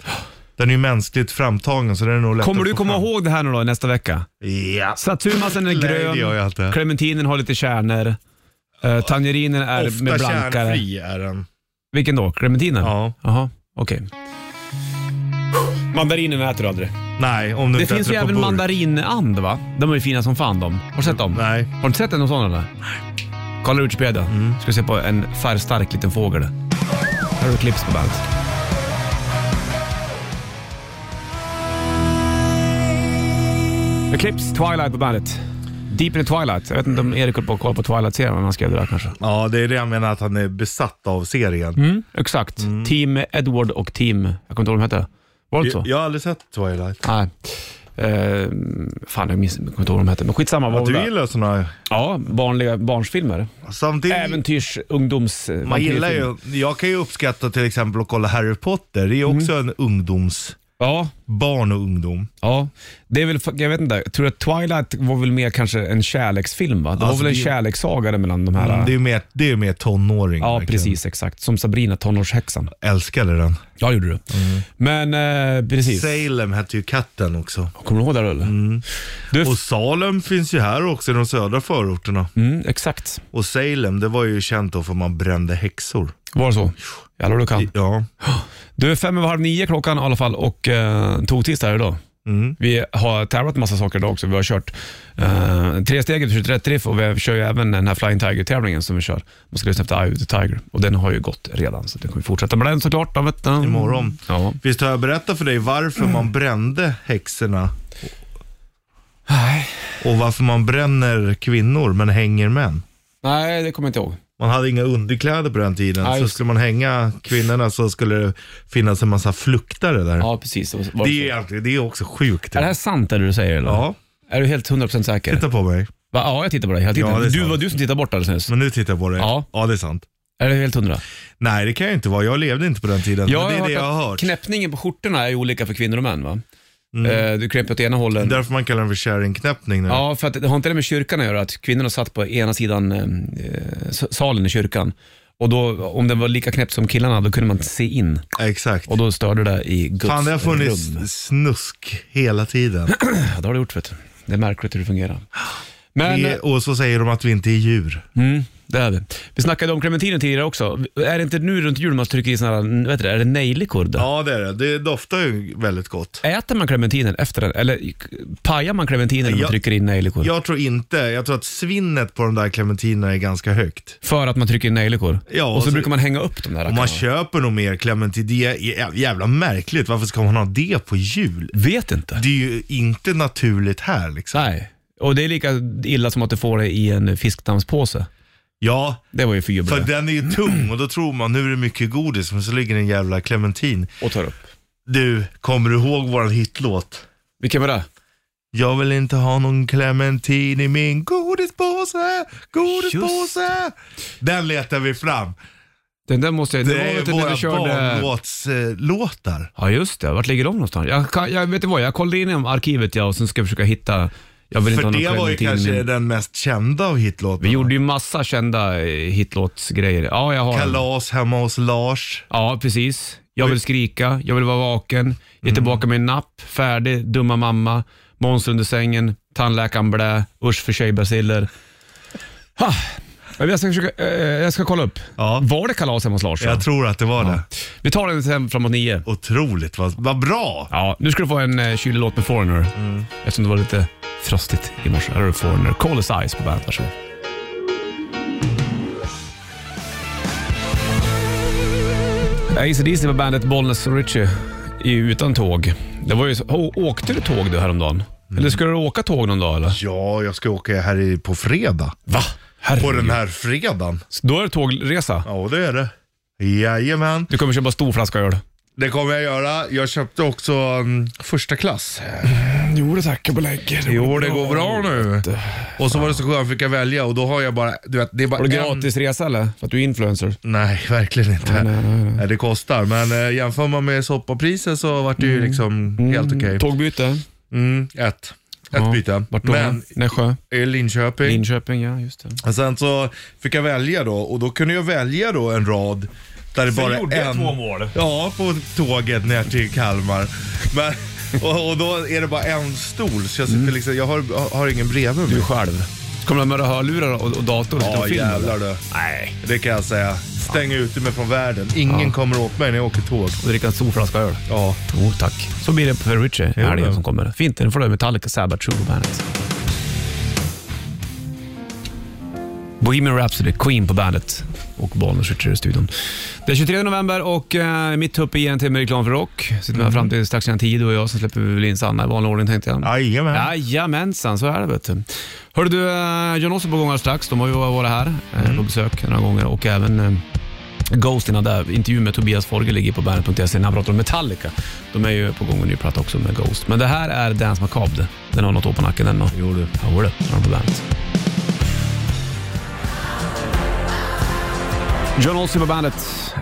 Den är ju mänskligt framtagen så den är nog lätt Kommer att du få komma fram. ihåg det här nu då nästa vecka? Ja. Satsumasen är Nej, det gör jag grön, inte. clementinen har lite kärnor, uh, tangerinen är med Ofta blankare. kärnfri är den. Vilken då? Clementinen? Ja. Jaha, okej. Mandarinen äter du aldrig. Nej, om du Det inte finns ju äter på även burk. mandarinand va? De är ju fina som fan de. Har du sett dem? Nej. Har du inte sett en sån eller? Nej. Kolla Wikipedia. Ska se på en färgstark liten fågel. Här har du Clips på bandet. Clips, Twilight på bandet. Deep in the Twilight. Jag vet inte om Erik höll på att kolla på Twilight-serien när han skrev det där kanske. Ja, det är det jag menar att han är besatt av serien. Mm. Exakt. Mm. Team Edward och Team... Jag kommer inte ihåg vad de hette. Var det så? Jag, jag har aldrig sett Twilight. Nej. Eh, fan, jag minns jag kommer inte ihåg vad de hette. Men skitsamma. Vad var det? Du gillar sådana... Ja, barnliga barnsfilmer. Samtidigt... Äventyrs, ungdoms... eh, Man gillar ju, jag kan ju uppskatta till exempel att kolla Harry Potter. Det är Mm. också en ungdoms... Ja, Barn och ungdom. ja. Det är väl, jag vet inte, jag tror att Twilight var väl mer kanske en kärleksfilm va? Det var Alltså, väl en det- kärlekssaga där mellan de här... Mm. Det är ju mer, det är ju mer tonåring. ja, verkligen. precis exakt. Som Sabrina, tonårshäxan. Älskade den. Ja, gjorde du. Mm. Men eh, precis. Salem hette ju katten också. Kommer du ihåg det eller? Mm. Du, Och Salem finns ju här också i de södra förorterna. mm, exakt. Och Salem, det var ju känt då för man brände häxor. Var det så? Jävlar vad du kan. Ja. Du, är fem över halv nio klockan i alla fall och eh, tog här idag. Mm. Vi har tävlat massa saker idag också. Vi har kört eh, tre steget, vi har kört rätt riff och vi kör ju även den här Flying Tiger-tävlingen som vi kör. Man ska lyssna efter Eye of the Tiger och den har ju gått redan så den kommer vi fortsätta med den såklart. Då, vet du. Imorgon. Ja. Mm. Visst har jag berättat för dig varför man brände häxorna? Nej. Och varför man bränner kvinnor men hänger män? Nej, det kommer jag inte ihåg. Man hade inga underkläder på den tiden. Ja, så just det. skulle man hänga kvinnorna så skulle det finnas en massa fluktare där. Ja, precis. Det, det, är är, egentligen, det är också sjukt. det här sant det du säger? Eller? Ja, Är du helt 100% säker? titta på mig. Va? Ja, jag tittar på dig. Jag tittar. Ja, det är du sant. var du som tittade bort alldeles nyss. Men nu tittar jag på dig. Ja. det är sant. Är du helt hundra? Nej, det kan jag inte vara. Jag levde inte på den tiden. Jag men det är har det jag har hört hört. Mm. att knäppningen på skjortorna är ju olika för kvinnor och män. Va? Eh, Du knäpper åt ena hållet. Därför man kallar den för kärringknäppning nu. Ja, för att det har inte det med kyrkan att göra, att kvinnorna satt på ena sidan eh, s- salen i kyrkan. Och då, om den var lika knäppt som killarna, då kunde man inte se in. Exakt. Och då störde det i Guds Fan, det har funnits rum. snusk hela tiden. Ja, det har det gjort, vet du. Det är märkligt hur det fungerar. Men, Vi, och så säger de att vi inte är djur. mm, det är det. Vi snackade om clementiner tidigare också. Är det inte nu runt jul man trycker i såna här, vet du, det, är det nejlikor? då? Ja, det är det. Det doftar ju väldigt gott. Äter man clementinen efter den? Eller pajar man clementinen när man Jag- trycker in nejlikor? Jag tror inte, jag tror att svinnet på de där clementinerna är ganska högt. För att man trycker in nejlikor? Ja, och så, så- brukar man hänga upp de där Och man rackarna. köper nog mer clementin. Det är jä- jävla märkligt. Varför ska man ha det på jul? Vet inte. Det är ju inte naturligt här liksom. Nej, och det är lika illa som att du får det i en fiskdammspåse. Ja, Det var ju för för jubbel. den är ju tung och då tror man nu är det mycket godis men så ligger det en jävla clementin. Och tar upp. Du, kommer du ihåg våran hitlåt? Vilken var det? Jag vill inte ha någon clementin i min godispåse, godispåse. Den letar vi fram. Den där måste jag... Det, Det, var är vet du när våra du körde... barnlåtslåtar. Ja, just det. Vart ligger de någonstans? Jag, kan, jag vet inte vad, jag kollade in i arkivet ja, och sen ska jag försöka hitta... Jag vill inte För ha någon det var ju clementin i kanske min- den mest kända av hitlåtarna. Vi gjorde ju massa kända eh, hitlåtsgrejer. Ja, jag har den. Kalas hemma hos Lars. Ja, precis. Jag vill skrika, jag vill vara vaken, ge tillbaka min napp, färdig, dumma mamma, Måns under sängen, tandläkaren blä, usch för sig basiller. Ha. Jag ska, försöka, eh, jag ska kolla upp. Ja. Var det kalas hemma hos Lars? då? Jag tror att det var det. Vi tar den sen framåt nio. Otroligt, vad, vad bra! Ja, nu ska du få en eh, kylig låt med Foreigner. Eftersom det var lite frostigt i morse. Här har du Foreigner. Call us eyes på bandet. Varsågod. ACDC var bandet Bollnäs och Ritchie i Utan tåg. Det var ju så, Å- åkte du tåg du häromdagen? Eller skulle du åka tåg någon dag eller? Ja, jag ska åka här i- på fredag. Va? På Herregud. den här fredagen. Då är det tågresa. Ja, det är det. Jajamän. Du kommer köpa stor flaska öl. Det kommer jag göra. Jag köpte också mm, första klass. Jo det tackar och lägger. Jo, det går bra nu. Och så var det så skönt, jag fick jag välja och då har jag bara, du vet, det är bara Har du en- gratis resa eller? För att du är influencer. Nej, verkligen inte. Nej, Det kostar, men eh, jämför man med soppapriset så vart det ju liksom helt okej. Mm. Tågbyte. Mm, ett. Ett Ja. byte. Vart då? Men Nässjö? i Linköping. Linköping, ja just det. Och sen så fick jag välja då och då kunde jag välja då en rad där det bara gjorde jag en... två mål. Ja, på tåget ner till Kalmar. Men, och, och då är det bara en stol så jag sitter liksom, jag har, har ingen bredvid mig. Du själv. Kommer du ha med dig hörlurar och, och dator och titta Ja på film? eller? jävlar du. Nej. Det kan jag säga. Stäng ute mig från världen. Ingen kommer åt mig när jag åker tåg. Och dricka en stor flaska öl? Ja. Jo tack. Så blir det för Richie i helgen ja. som kommer. Fint, den får du Metallica, Sabbath, True på bandet. Bohemian Rhapsody, Queen på bandet och Bollnäs Richie i studion. Det är 23 november och eh, mitt uppe i en timme reklam för rock. Sitter Mm. med fram till strax innan tio du och jag, så släpper vi väl in Sanna i vanlig ordning tänkte jag. Jajamän. Jajamensan, så är det vet du. Hörru du, eh, John Ossie på gång alldeles strax. De har ju varit här eh, på besök några gånger och även eh, Ghost innan där. Intervju med Tobias Forge ligger på bandet.se när han pratar om Metallica. De är ju på gång en ny platta också med Ghost. Men det här är Dance Macabre. Den har något år på nacken den. och- Jo du. Ja, det har de på bandet. John Ossie på bandet,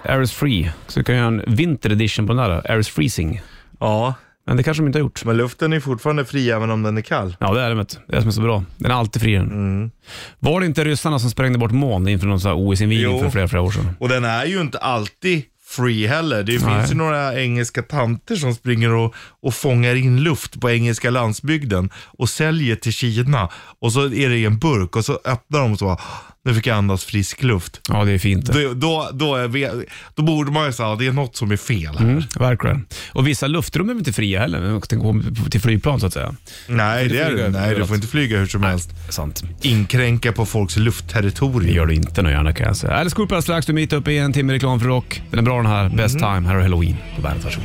Air is Free. Så vi kan göra en Winter Edition på den där, Air is Freezing. Ja, Men det kanske de inte har gjort. men luften är fortfarande fri även om den är kall. Ja, det är det. Vet. du. Det är det som är så bra. Den är alltid fri den. Mm. Var det inte ryssarna som sprängde bort månen inför någon sån här OS-invigning Jo. för flera, flera år sedan? Och den är ju inte alltid free heller. Det Nej. finns ju några engelska tanter som springer och, och fångar in luft på engelska landsbygden och säljer till Kina. Och så är det i en burk och så öppnar de och så bara, nu fick jag andas frisk luft. Ja, det är fint det. Då, då, då, är vi, då borde man ju säga att det är något som är fel här. Mm, verkligen. Och vissa luftrum är väl inte fria heller? men Tänk på till flygplan så att säga. Nej, det är flyga det. Nej, du överallt. får inte flyga hur som helst. Sant. Inkränka på folks Det luftterritorium. gör du inte något gärna kan jag säga. Alice Cooper alldeles strax. Du är mitt uppe i en timme reklam för rock. Den är bra den här. Best Mm. time. Här är Halloween på bandet. Varsågod.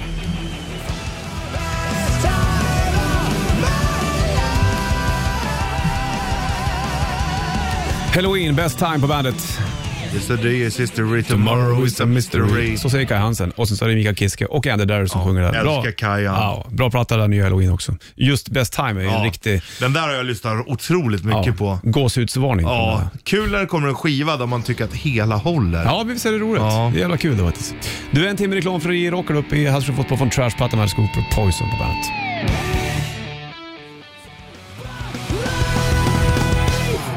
Halloween, best time på bandet. Yesterday is history, tomorrow is a mystery. Så säger Kai Hansen. Och sen så är det Mika Kiske och Andy Darry som sjunger där. älskar Kai Hansen. ja, bra platta där, nya Halloween också. Just Best Time är ju en Ja, riktig Den där har jag lyssnat otroligt mycket ja, på. gåshudsvarning. på den Ja, där. kul när det kommer en skiva där man tycker att hela håller. Ja, visst är det roligt. Ja. Det är jävla kul det faktiskt. Du, en timme reklamfri rockar upp i Hallström Fotboll från Trashplattan med Alice Cooper och Poison på bandet.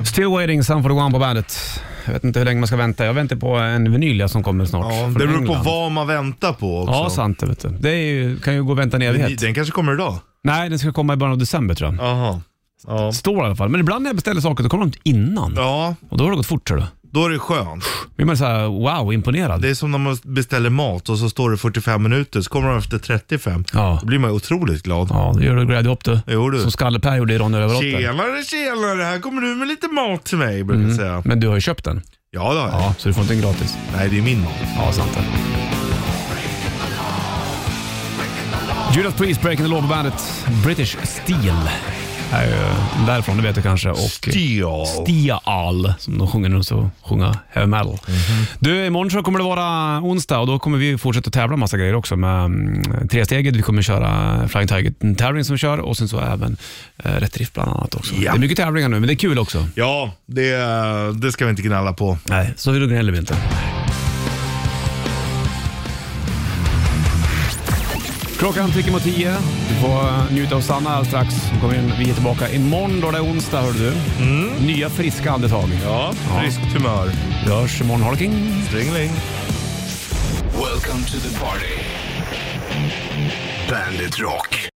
Still waiting, Sun 41 på bandet. Jag vet inte hur länge man ska vänta. Jag väntar på en vinyl ja, som kommer snart. Ja, från det beror på England. vad man väntar på också. Ja, sant det vet du. Det är ju, kan ju gå och vänta en evighet. Den kanske kommer idag. Nej, den ska komma i början av december tror jag. Jaha. Ja. Står i alla fall. Men ibland när jag beställer saker då kommer de innan. ja, Och då har det gått fort tror du. då är det skönt. blir man såhär wow, imponerad. Det är som när man beställer mat och så står det 45 minuter, så kommer de efter 35. Ja. Då blir man ju otroligt glad. Ja, då gör du glädje upp du. Jo, du. Som Skalle-Per gjorde i Ronny Rövardotter. Tjenare, tjenare, här kommer du med lite mat till mig, brukar jag säga. Men du har ju köpt den. Ja, det har jag. Mm. Ja, så du får inte den gratis. Nej, det är min mat. Ja, sant det. Judas Priest, Breaking the Law på bandet British Steel. är ju därifrån, det vet du kanske. Och Steel. Stial, som de sjunger när de så sjunga heavy metal. Mhm. Du, imorgon så kommer det vara onsdag och då kommer vi fortsätta tävla massa grejer också med mm, tresteget. Vi kommer köra Flying Tiger-tävling som vi kör och sen så även eh, Rätt Riff bland annat också. Ja. Det är mycket tävlingar nu, men det är kul också. Ja, det, det ska vi inte gnälla på. Nej, så vill du gnäller vi inte. Klockan tickar mot tio. Du får eh, njuta av Sanna alldeles strax. Hon kommer in. Vi är tillbaka imorgon då det är onsdag, hör du. Nya friska andetag. Mm. Ja, friskt humör. Vi hörs imorgon. Ha det king. Ringling. Welcome to the party. Bandit Rock.